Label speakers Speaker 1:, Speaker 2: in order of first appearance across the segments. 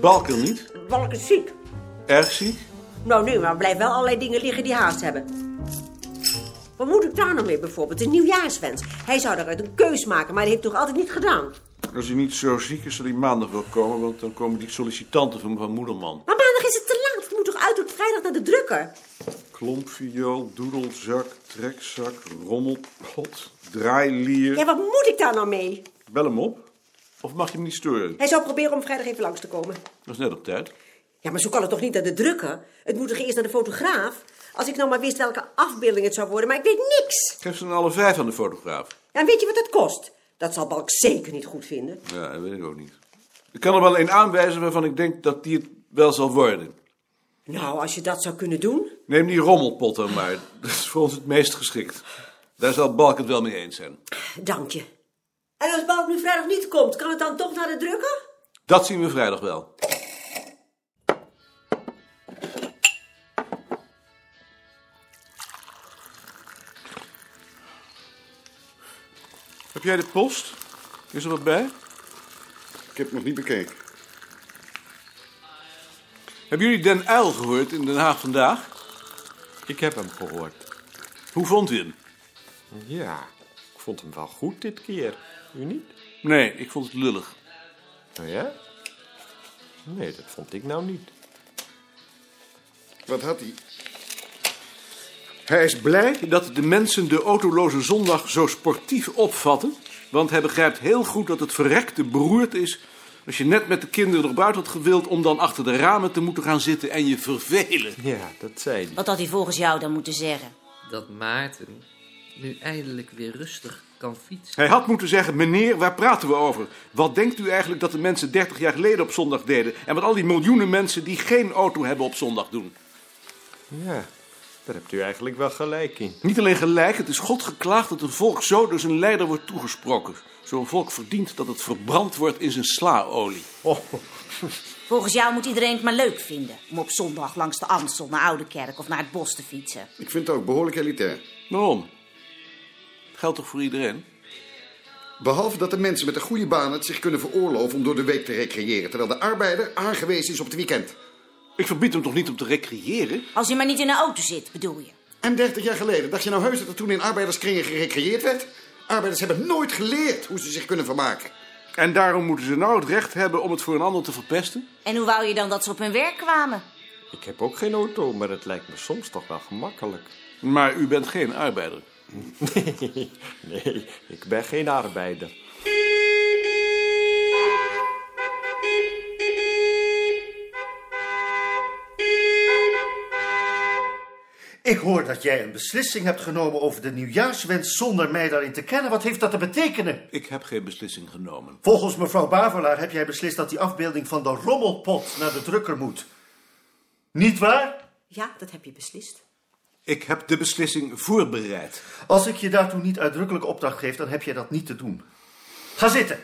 Speaker 1: Balken niet?
Speaker 2: Balk is ziek.
Speaker 1: Erg ziek?
Speaker 2: Nou nee, maar er blijven wel allerlei dingen liggen die haast hebben. Wat moet ik daar nou mee bijvoorbeeld? Een nieuwjaarswens. Hij zou daaruit een keus maken, maar hij heeft toch altijd niet gedaan.
Speaker 1: Als hij niet zo ziek is, zal hij maandag wel komen, want dan komen die sollicitanten van mevrouw Moederman.
Speaker 2: Maar maandag is het te laat. Het moet toch uit tot vrijdag naar de drukker?
Speaker 1: Klompviool, doedelzak, trekzak, rommelpot, draailier.
Speaker 2: Ja, wat moet ik daar nou mee?
Speaker 1: Bel hem op. Of mag je hem niet storen?
Speaker 2: Hij zou proberen om vrijdag even langs te komen.
Speaker 1: Dat is net op tijd.
Speaker 2: Ja, maar zo kan het toch niet naar de drukker? Het moet toch eerst naar de fotograaf? Als ik nou maar wist welke afbeelding het zou worden, maar ik weet niks.
Speaker 1: Geef ze dan alle vijf aan de fotograaf.
Speaker 2: Ja, En weet je wat dat kost? Dat zal Balk zeker niet goed vinden.
Speaker 1: Ja, dat weet ik ook niet. Ik kan er wel een aanwijzen waarvan ik denk dat die het wel zal worden.
Speaker 2: Nou, als je dat zou kunnen doen.
Speaker 1: Neem die rommelpot dan maar. Dat is voor ons het meest geschikt. Daar zal Balk het wel mee eens zijn.
Speaker 2: Dank je. En als Balk nu vrijdag niet komt, kan het dan toch naar de drukker?
Speaker 1: Dat zien we vrijdag wel. Heb jij de post? Is er wat bij?
Speaker 3: Ik heb het nog niet bekeken.
Speaker 1: Hebben jullie Den Uyl gehoord in Den Haag vandaag?
Speaker 4: Ik heb hem gehoord.
Speaker 1: Hoe vond u hem?
Speaker 4: Ja, ik vond hem wel goed dit keer. U niet?
Speaker 1: Nee, ik vond het lullig.
Speaker 4: Oh ja? Nee, dat vond ik nou niet.
Speaker 3: Wat had hij? Hij is blij.
Speaker 1: Dat de mensen de autoloze zondag zo sportief opvatten. Want hij begrijpt heel goed dat het verrekte beroerd is. Als je net met de kinderen nog buiten had gewild om dan achter de ramen te moeten gaan zitten en je vervelen.
Speaker 4: Ja, dat zei hij.
Speaker 5: Wat had hij volgens jou dan moeten zeggen?
Speaker 6: dat Maarten nu eindelijk weer rustig kan fietsen.
Speaker 1: Hij had moeten zeggen, meneer, waar praten we over? Wat denkt u eigenlijk dat de mensen 30 jaar geleden op zondag deden? En wat al die miljoenen mensen die geen auto hebben op zondag doen?
Speaker 4: Ja, daar hebt u eigenlijk wel gelijk in.
Speaker 1: Niet alleen gelijk, het is God geklaagd dat een volk zo door zijn leider wordt toegesproken. Zo'n volk verdient dat het verbrand wordt in zijn slaolie.
Speaker 4: Oh,
Speaker 5: Volgens jou moet iedereen het maar leuk vinden om op zondag langs de Amstel naar Oude Kerk of naar het bos te fietsen.
Speaker 3: Ik vind het ook behoorlijk elitair.
Speaker 1: Waarom? Geldt toch voor iedereen?
Speaker 3: Behalve dat de mensen met een goede baan het zich kunnen veroorloven om door de week te recreëren. Terwijl de arbeider aangewezen is op het weekend.
Speaker 1: Ik verbied hem toch niet om te recreëren?
Speaker 5: Als je maar niet in een auto zit, bedoel je?
Speaker 3: En 30 jaar geleden, dacht je nou heus dat er toen in arbeiderskringen gerecreëerd werd? Arbeiders hebben nooit geleerd hoe ze zich kunnen vermaken.
Speaker 1: En daarom moeten ze nou het recht hebben om het voor een ander te verpesten?
Speaker 5: En hoe wou je dan dat ze op hun werk kwamen?
Speaker 4: ik heb ook geen auto, maar het lijkt me soms toch wel gemakkelijk.
Speaker 1: Maar u bent geen arbeider.
Speaker 4: nee, ik ben geen arbeider.
Speaker 7: Ik hoor dat jij een beslissing hebt genomen over de nieuwjaarswens zonder mij daarin te kennen. Wat heeft dat te betekenen?
Speaker 1: Ik heb geen beslissing genomen.
Speaker 7: Volgens mevrouw Bavelaar heb jij beslist dat die afbeelding van de rommelpot naar de drukker moet. Niet waar?
Speaker 2: Ja, dat heb je beslist.
Speaker 1: Ik heb de beslissing voorbereid.
Speaker 7: Als ik je daartoe niet uitdrukkelijk opdracht geef, dan heb jij dat niet te doen. Ga zitten.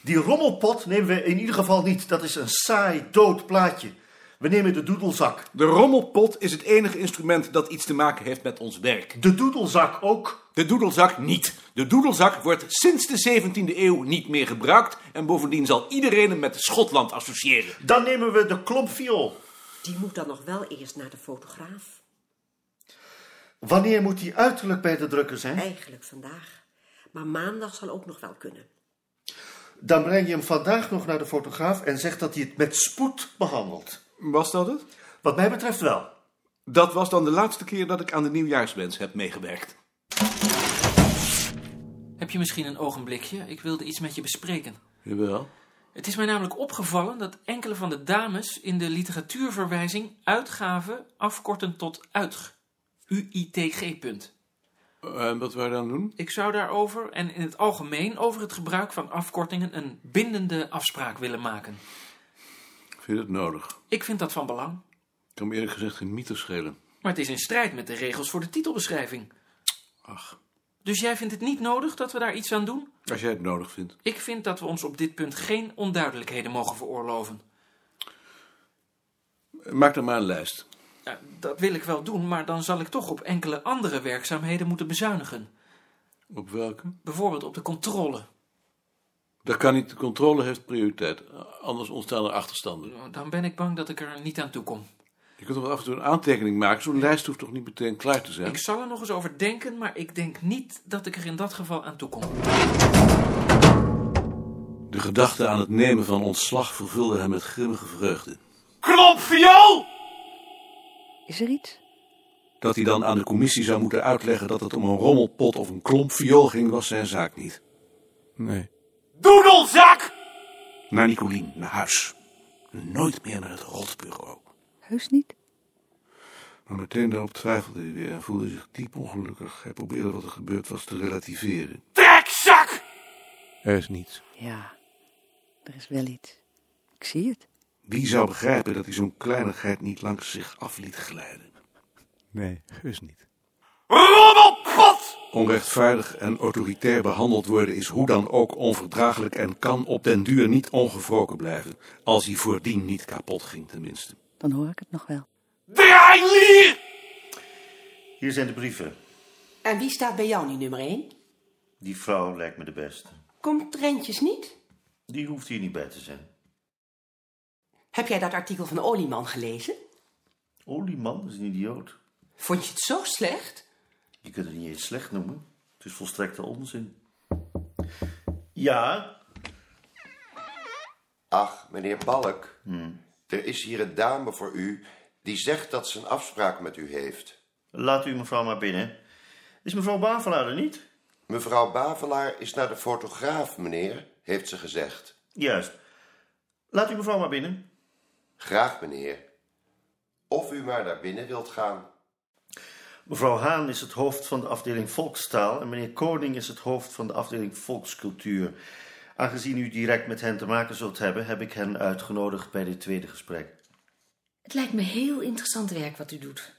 Speaker 7: Die rommelpot nemen we in ieder geval niet. Dat is een saai, dood plaatje. We nemen de doedelzak.
Speaker 1: De rommelpot is het enige instrument dat iets te maken heeft met ons werk.
Speaker 7: De doedelzak ook.
Speaker 1: De doedelzak niet. De doedelzak wordt sinds de 17e eeuw niet meer gebruikt. En bovendien zal iedereen hem met Schotland associëren.
Speaker 7: Dan nemen we de klompviool.
Speaker 2: Die moet dan nog wel eerst naar de fotograaf.
Speaker 7: Wanneer moet die uiterlijk bij de drukker zijn?
Speaker 2: Eigenlijk vandaag. Maar maandag zal ook nog wel kunnen.
Speaker 7: Dan breng je hem vandaag nog naar de fotograaf en zegt dat hij het met spoed behandelt.
Speaker 1: Was dat het?
Speaker 7: Wat mij betreft wel.
Speaker 1: Dat was dan de laatste keer dat ik aan de nieuwjaarswens heb meegewerkt.
Speaker 6: Heb je misschien een ogenblikje? Ik wilde iets met je bespreken.
Speaker 1: Jawel.
Speaker 6: Het is mij namelijk opgevallen dat enkele van de dames in de literatuurverwijzing uitgaven afkorten tot uitg. UITG. punt.
Speaker 1: En Eh, wat wij dan doen?
Speaker 6: Ik zou daarover en in het algemeen over het gebruik van afkortingen een bindende afspraak willen maken.
Speaker 1: Ik vind het nodig.
Speaker 6: Ik vind dat van belang,
Speaker 1: Ik kan me eerlijk gezegd geen mythe schelen.
Speaker 6: maar het is in strijd met de regels voor de titelbeschrijving.
Speaker 1: Ach,
Speaker 6: Dus jij vindt het niet nodig dat we daar iets aan doen?
Speaker 1: als jij het nodig vindt.
Speaker 6: Ik vind dat we ons op dit punt geen onduidelijkheden mogen veroorloven.
Speaker 1: Maak dan maar een lijst.
Speaker 6: Ja, dat wil ik wel doen, maar dan zal ik toch op enkele andere werkzaamheden moeten bezuinigen.
Speaker 1: Op welke?
Speaker 6: Bijvoorbeeld op de controle.
Speaker 1: Dat kan niet. De controle heeft prioriteit. Anders ontstaan er achterstanden.
Speaker 6: Dan ben ik bang dat ik er niet aan toe kom.
Speaker 1: Je kunt toch wel af en toe een aantekening maken. Zo'n lijst hoeft toch niet meteen klaar te zijn?
Speaker 6: Ik zal er nog eens over denken, maar ik denk niet dat ik er in dat geval aan toe kom.
Speaker 1: De gedachte aan het nemen van ontslag vervulde hem met grimmige vreugde.
Speaker 8: Is er iets?
Speaker 1: Dat hij dan aan de commissie zou moeten uitleggen dat het om een rommelpot of een klomp viool ging, was zijn zaak niet. Nee.
Speaker 6: Doedelzak!
Speaker 1: Naar Nicolien, naar huis. Nooit meer naar het rotbureau.
Speaker 8: Heus niet?
Speaker 1: Maar meteen daarop twijfelde hij weer en voelde zich diep ongelukkig. Hij probeerde wat er gebeurd was te relativeren.
Speaker 6: Trekzak!
Speaker 9: Er is niets.
Speaker 8: Ja, er is wel iets. Ik zie het.
Speaker 1: Wie zou begrijpen dat hij zo'n kleinigheid niet langs zich af liet glijden?
Speaker 9: Nee, heus niet.
Speaker 6: Rommelpot!
Speaker 1: Onrechtvaardig en autoritair behandeld worden is hoe dan ook onverdraaglijk en kan op den duur niet ongevroken blijven. Als hij voordien niet kapot ging, tenminste.
Speaker 8: Dan hoor ik het nog wel.
Speaker 6: Draailier!
Speaker 7: Hier zijn de brieven.
Speaker 10: En wie staat bij jou nu nummer 1?
Speaker 7: Die vrouw lijkt me de beste.
Speaker 10: Komt Trentjes niet?
Speaker 7: Die hoeft hier niet bij te zijn.
Speaker 10: Heb jij dat artikel van Olieman gelezen?
Speaker 7: Olieman Oh, is een idioot.
Speaker 10: Vond je het zo slecht?
Speaker 7: Je kunt het niet eens slecht noemen. Het is volstrekte onzin. Ja,
Speaker 11: Ach, meneer Balk.
Speaker 3: Hmm.
Speaker 11: Er is hier een dame voor u die zegt dat ze een afspraak met u heeft.
Speaker 7: laat u mevrouw maar binnen. Is mevrouw Bavelaar er niet?
Speaker 11: Mevrouw Bavelaar is naar de fotograaf, meneer, heeft ze gezegd.
Speaker 7: Juist. Laat u mevrouw maar binnen.
Speaker 11: Graag, meneer. Of u maar naar binnen wilt gaan.
Speaker 7: Mevrouw Haan is het hoofd van de afdeling Volkstaal en meneer Koning is het hoofd van de afdeling Volkscultuur. Aangezien u direct met hen te maken zult hebben, heb ik hen uitgenodigd bij dit tweede gesprek.
Speaker 12: Het lijkt me heel interessant werk wat u doet.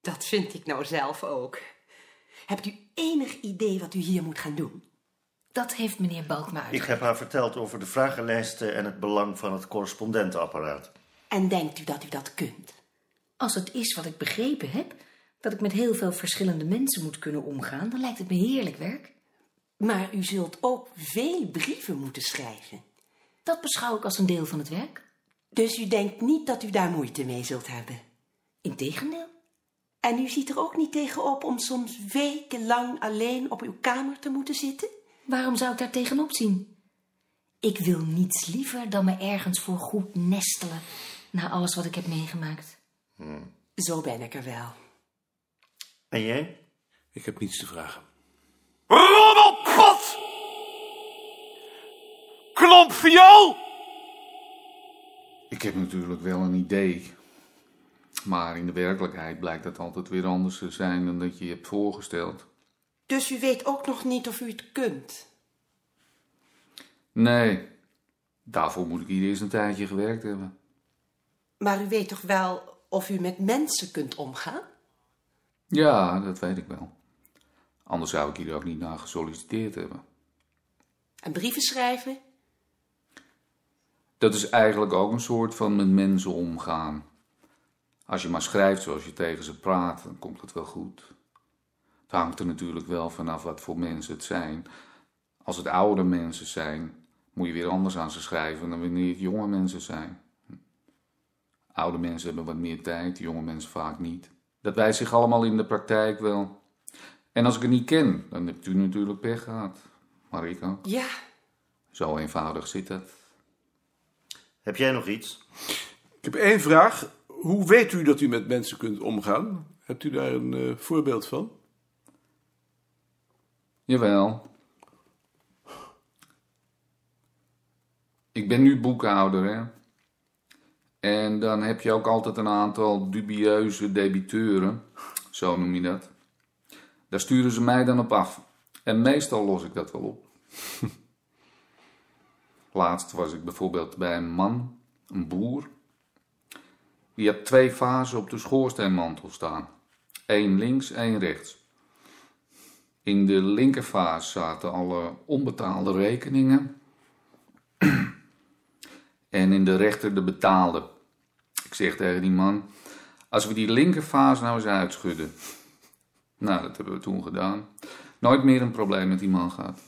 Speaker 10: Dat vind ik nou zelf ook. Hebt u enig idee wat u hier moet gaan doen?
Speaker 12: Dat heeft meneer Balk me
Speaker 7: Ik
Speaker 12: uitgelegd.
Speaker 7: heb haar verteld over de vragenlijsten en het belang van het correspondentenapparaat.
Speaker 10: En denkt u dat u dat kunt?
Speaker 12: Als het is wat ik begrepen heb, dat ik met heel veel verschillende mensen moet kunnen omgaan, dan lijkt het me heerlijk werk.
Speaker 10: Maar u zult ook veel brieven moeten schrijven.
Speaker 12: Dat beschouw ik als een deel van het werk.
Speaker 10: Dus u denkt niet dat u daar moeite mee zult hebben.
Speaker 12: Integendeel.
Speaker 10: En u ziet er ook niet tegen op om soms wekenlang alleen op uw kamer te moeten zitten?
Speaker 12: Waarom zou ik daar tegenop zien? Ik wil niets liever dan me ergens voor goed nestelen na alles wat ik heb meegemaakt.
Speaker 10: Zo ben ik er wel.
Speaker 7: En jij?
Speaker 1: Ik heb niets te vragen.
Speaker 6: Rommelpot! Klomp viool!
Speaker 13: Ik heb natuurlijk wel een idee. Maar in de werkelijkheid blijkt dat altijd weer anders te zijn dan dat je je hebt voorgesteld.
Speaker 10: Dus u weet ook nog niet of u het kunt.
Speaker 13: Nee, daarvoor moet ik hier eerst een tijdje gewerkt hebben.
Speaker 10: Maar u weet toch wel of u met mensen kunt omgaan?
Speaker 13: Ja, dat weet ik wel. Anders zou ik hier ook niet naar gesolliciteerd hebben.
Speaker 10: En brieven schrijven?
Speaker 13: Dat is eigenlijk ook een soort van met mensen omgaan. Als je maar schrijft zoals je tegen ze praat, dan komt het wel goed. Het hangt er natuurlijk wel vanaf wat voor mensen het zijn. Als het oude mensen zijn, moet je weer anders aan ze schrijven dan wanneer het jonge mensen zijn. Oude mensen hebben wat meer tijd, jonge mensen vaak niet. Dat wijst zich allemaal in de praktijk wel. En als ik het niet ken, dan hebt u natuurlijk pech gehad. Maar ik ook.
Speaker 10: Ja.
Speaker 13: Zo eenvoudig zit dat.
Speaker 7: Heb jij nog iets?
Speaker 1: Ik heb één vraag. Hoe weet u dat u met mensen kunt omgaan? Hebt u daar een eh, voorbeeld van?
Speaker 13: Jawel. Ik ben nu boekhouder, hè. En dan heb je ook altijd een aantal dubieuze debiteuren, zo noem je dat. Daar sturen ze mij dan op af. En meestal los ik dat wel op. Laatst was ik bijvoorbeeld bij een man, een boer. Die had twee vazen op de schoorsteenmantel staan. Eén links, één rechts. In de linkervaas zaten alle onbetaalde rekeningen. En in de rechter de betaalde. Ik zeg tegen die man: Als we die linkervaas nou eens uitschudden. Nou, dat hebben we toen gedaan. Nooit meer een probleem met die man gehad.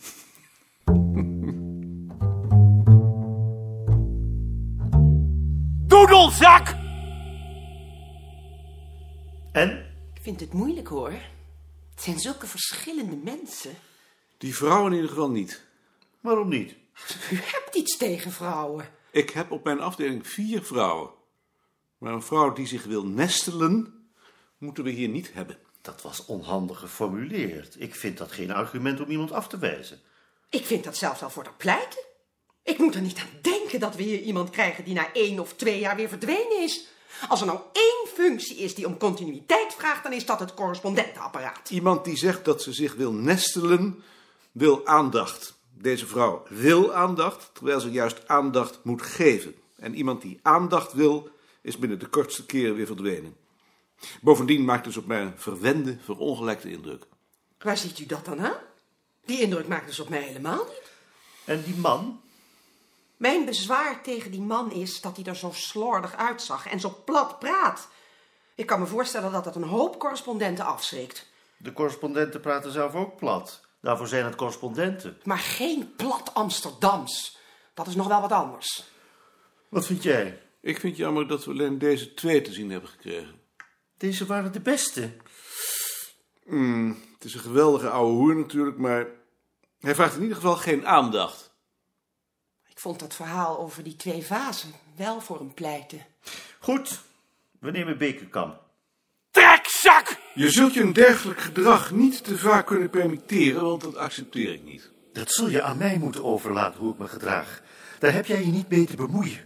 Speaker 7: En?
Speaker 10: Ik vind het moeilijk hoor. Het zijn zulke verschillende mensen.
Speaker 1: Die vrouw in ieder geval niet.
Speaker 7: Waarom niet?
Speaker 10: U hebt iets tegen vrouwen.
Speaker 1: Ik heb op mijn afdeling vier vrouwen. Maar een vrouw die zich wil nestelen, moeten we hier niet hebben.
Speaker 7: Dat was onhandig geformuleerd. Ik vind dat geen argument om iemand af te wijzen.
Speaker 10: Ik vind dat zelfs al voor de pleiten. Ik moet er niet aan denken dat we hier iemand krijgen die na één of twee jaar weer verdwenen is. Als er nou één functie is die om continuïteit vraagt, dan is dat het correspondentenapparaat.
Speaker 1: Iemand die zegt dat ze zich wil nestelen, wil aandacht. Deze vrouw wil aandacht, terwijl ze juist aandacht moet geven. En iemand die aandacht wil, is binnen de kortste keren weer verdwenen. Bovendien maakt dus op mij een verwende, verongelijkte indruk.
Speaker 10: Waar ziet u dat dan aan? Die indruk maakt dus op mij helemaal niet.
Speaker 7: En die man?
Speaker 10: Mijn bezwaar tegen die man is dat hij er zo slordig uitzag en zo plat praat. Ik kan me voorstellen dat dat een hoop correspondenten afschrikt.
Speaker 7: De correspondenten praten zelf ook plat. Daarvoor zijn het correspondenten.
Speaker 10: Maar geen plat Amsterdams. Dat is nog wel wat anders.
Speaker 7: Wat vind jij?
Speaker 1: Ik vind het jammer dat we alleen deze twee te zien hebben gekregen.
Speaker 7: Deze waren de beste.
Speaker 1: Mm, het is een geweldige ouwe hoer natuurlijk, maar hij vraagt in ieder geval geen aandacht.
Speaker 10: Ik vond dat verhaal over die twee vazen wel voor een pleiten.
Speaker 7: Goed, we nemen Bekenkamp.
Speaker 6: Trekzak!
Speaker 1: Je zult je een dergelijk gedrag niet te vaak kunnen permitteren, want dat accepteer ik niet.
Speaker 7: Dat zul je aan mij moeten overlaten hoe ik me gedraag. Daar heb jij je niet mee te bemoeien.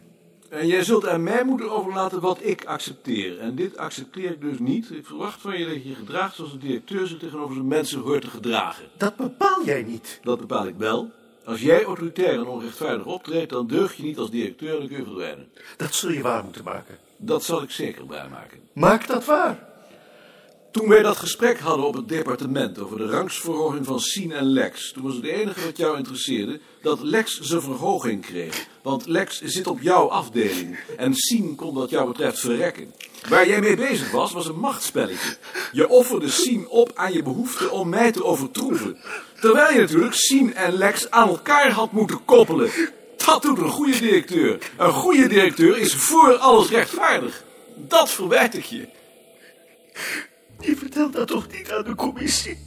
Speaker 1: En jij zult aan mij moeten overlaten wat ik accepteer. En dit accepteer ik dus niet. Ik verwacht van je dat je je gedraagt zoals een directeur zich tegenover zijn mensen hoort te gedragen.
Speaker 7: Dat bepaal jij niet.
Speaker 1: Dat bepaal ik wel. Als jij autoritair en onrechtvaardig optreedt, dan deug je niet als directeur en dan kun je verdwijnen.
Speaker 7: Dat zul je waar moeten maken.
Speaker 1: Dat zal ik zeker waarmaken.
Speaker 7: Maak dat waar.
Speaker 1: Toen wij dat gesprek hadden op het departement over de rangsverhoging van Sien en Lex, toen was het enige wat jou interesseerde dat Lex zijn verhoging kreeg. Want Lex zit op jouw afdeling en Sien kon wat jou betreft verrekken. Waar jij mee bezig was, was een machtspelletje. Je offerde Sien op aan je behoefte om mij te overtroeven. Terwijl je natuurlijk Sien en Lex aan elkaar had moeten koppelen. Dat doet een goede directeur. Een goede directeur is voor alles rechtvaardig. Dat verwijt ik je.
Speaker 7: Je vertelt dat toch niet aan de commissie?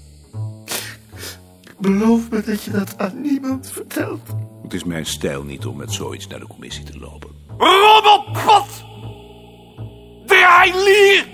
Speaker 7: Beloof me dat je dat aan niemand vertelt.
Speaker 1: Het is mijn stijl niet om met zoiets naar de commissie te lopen.
Speaker 6: Robotpot! Draai lier!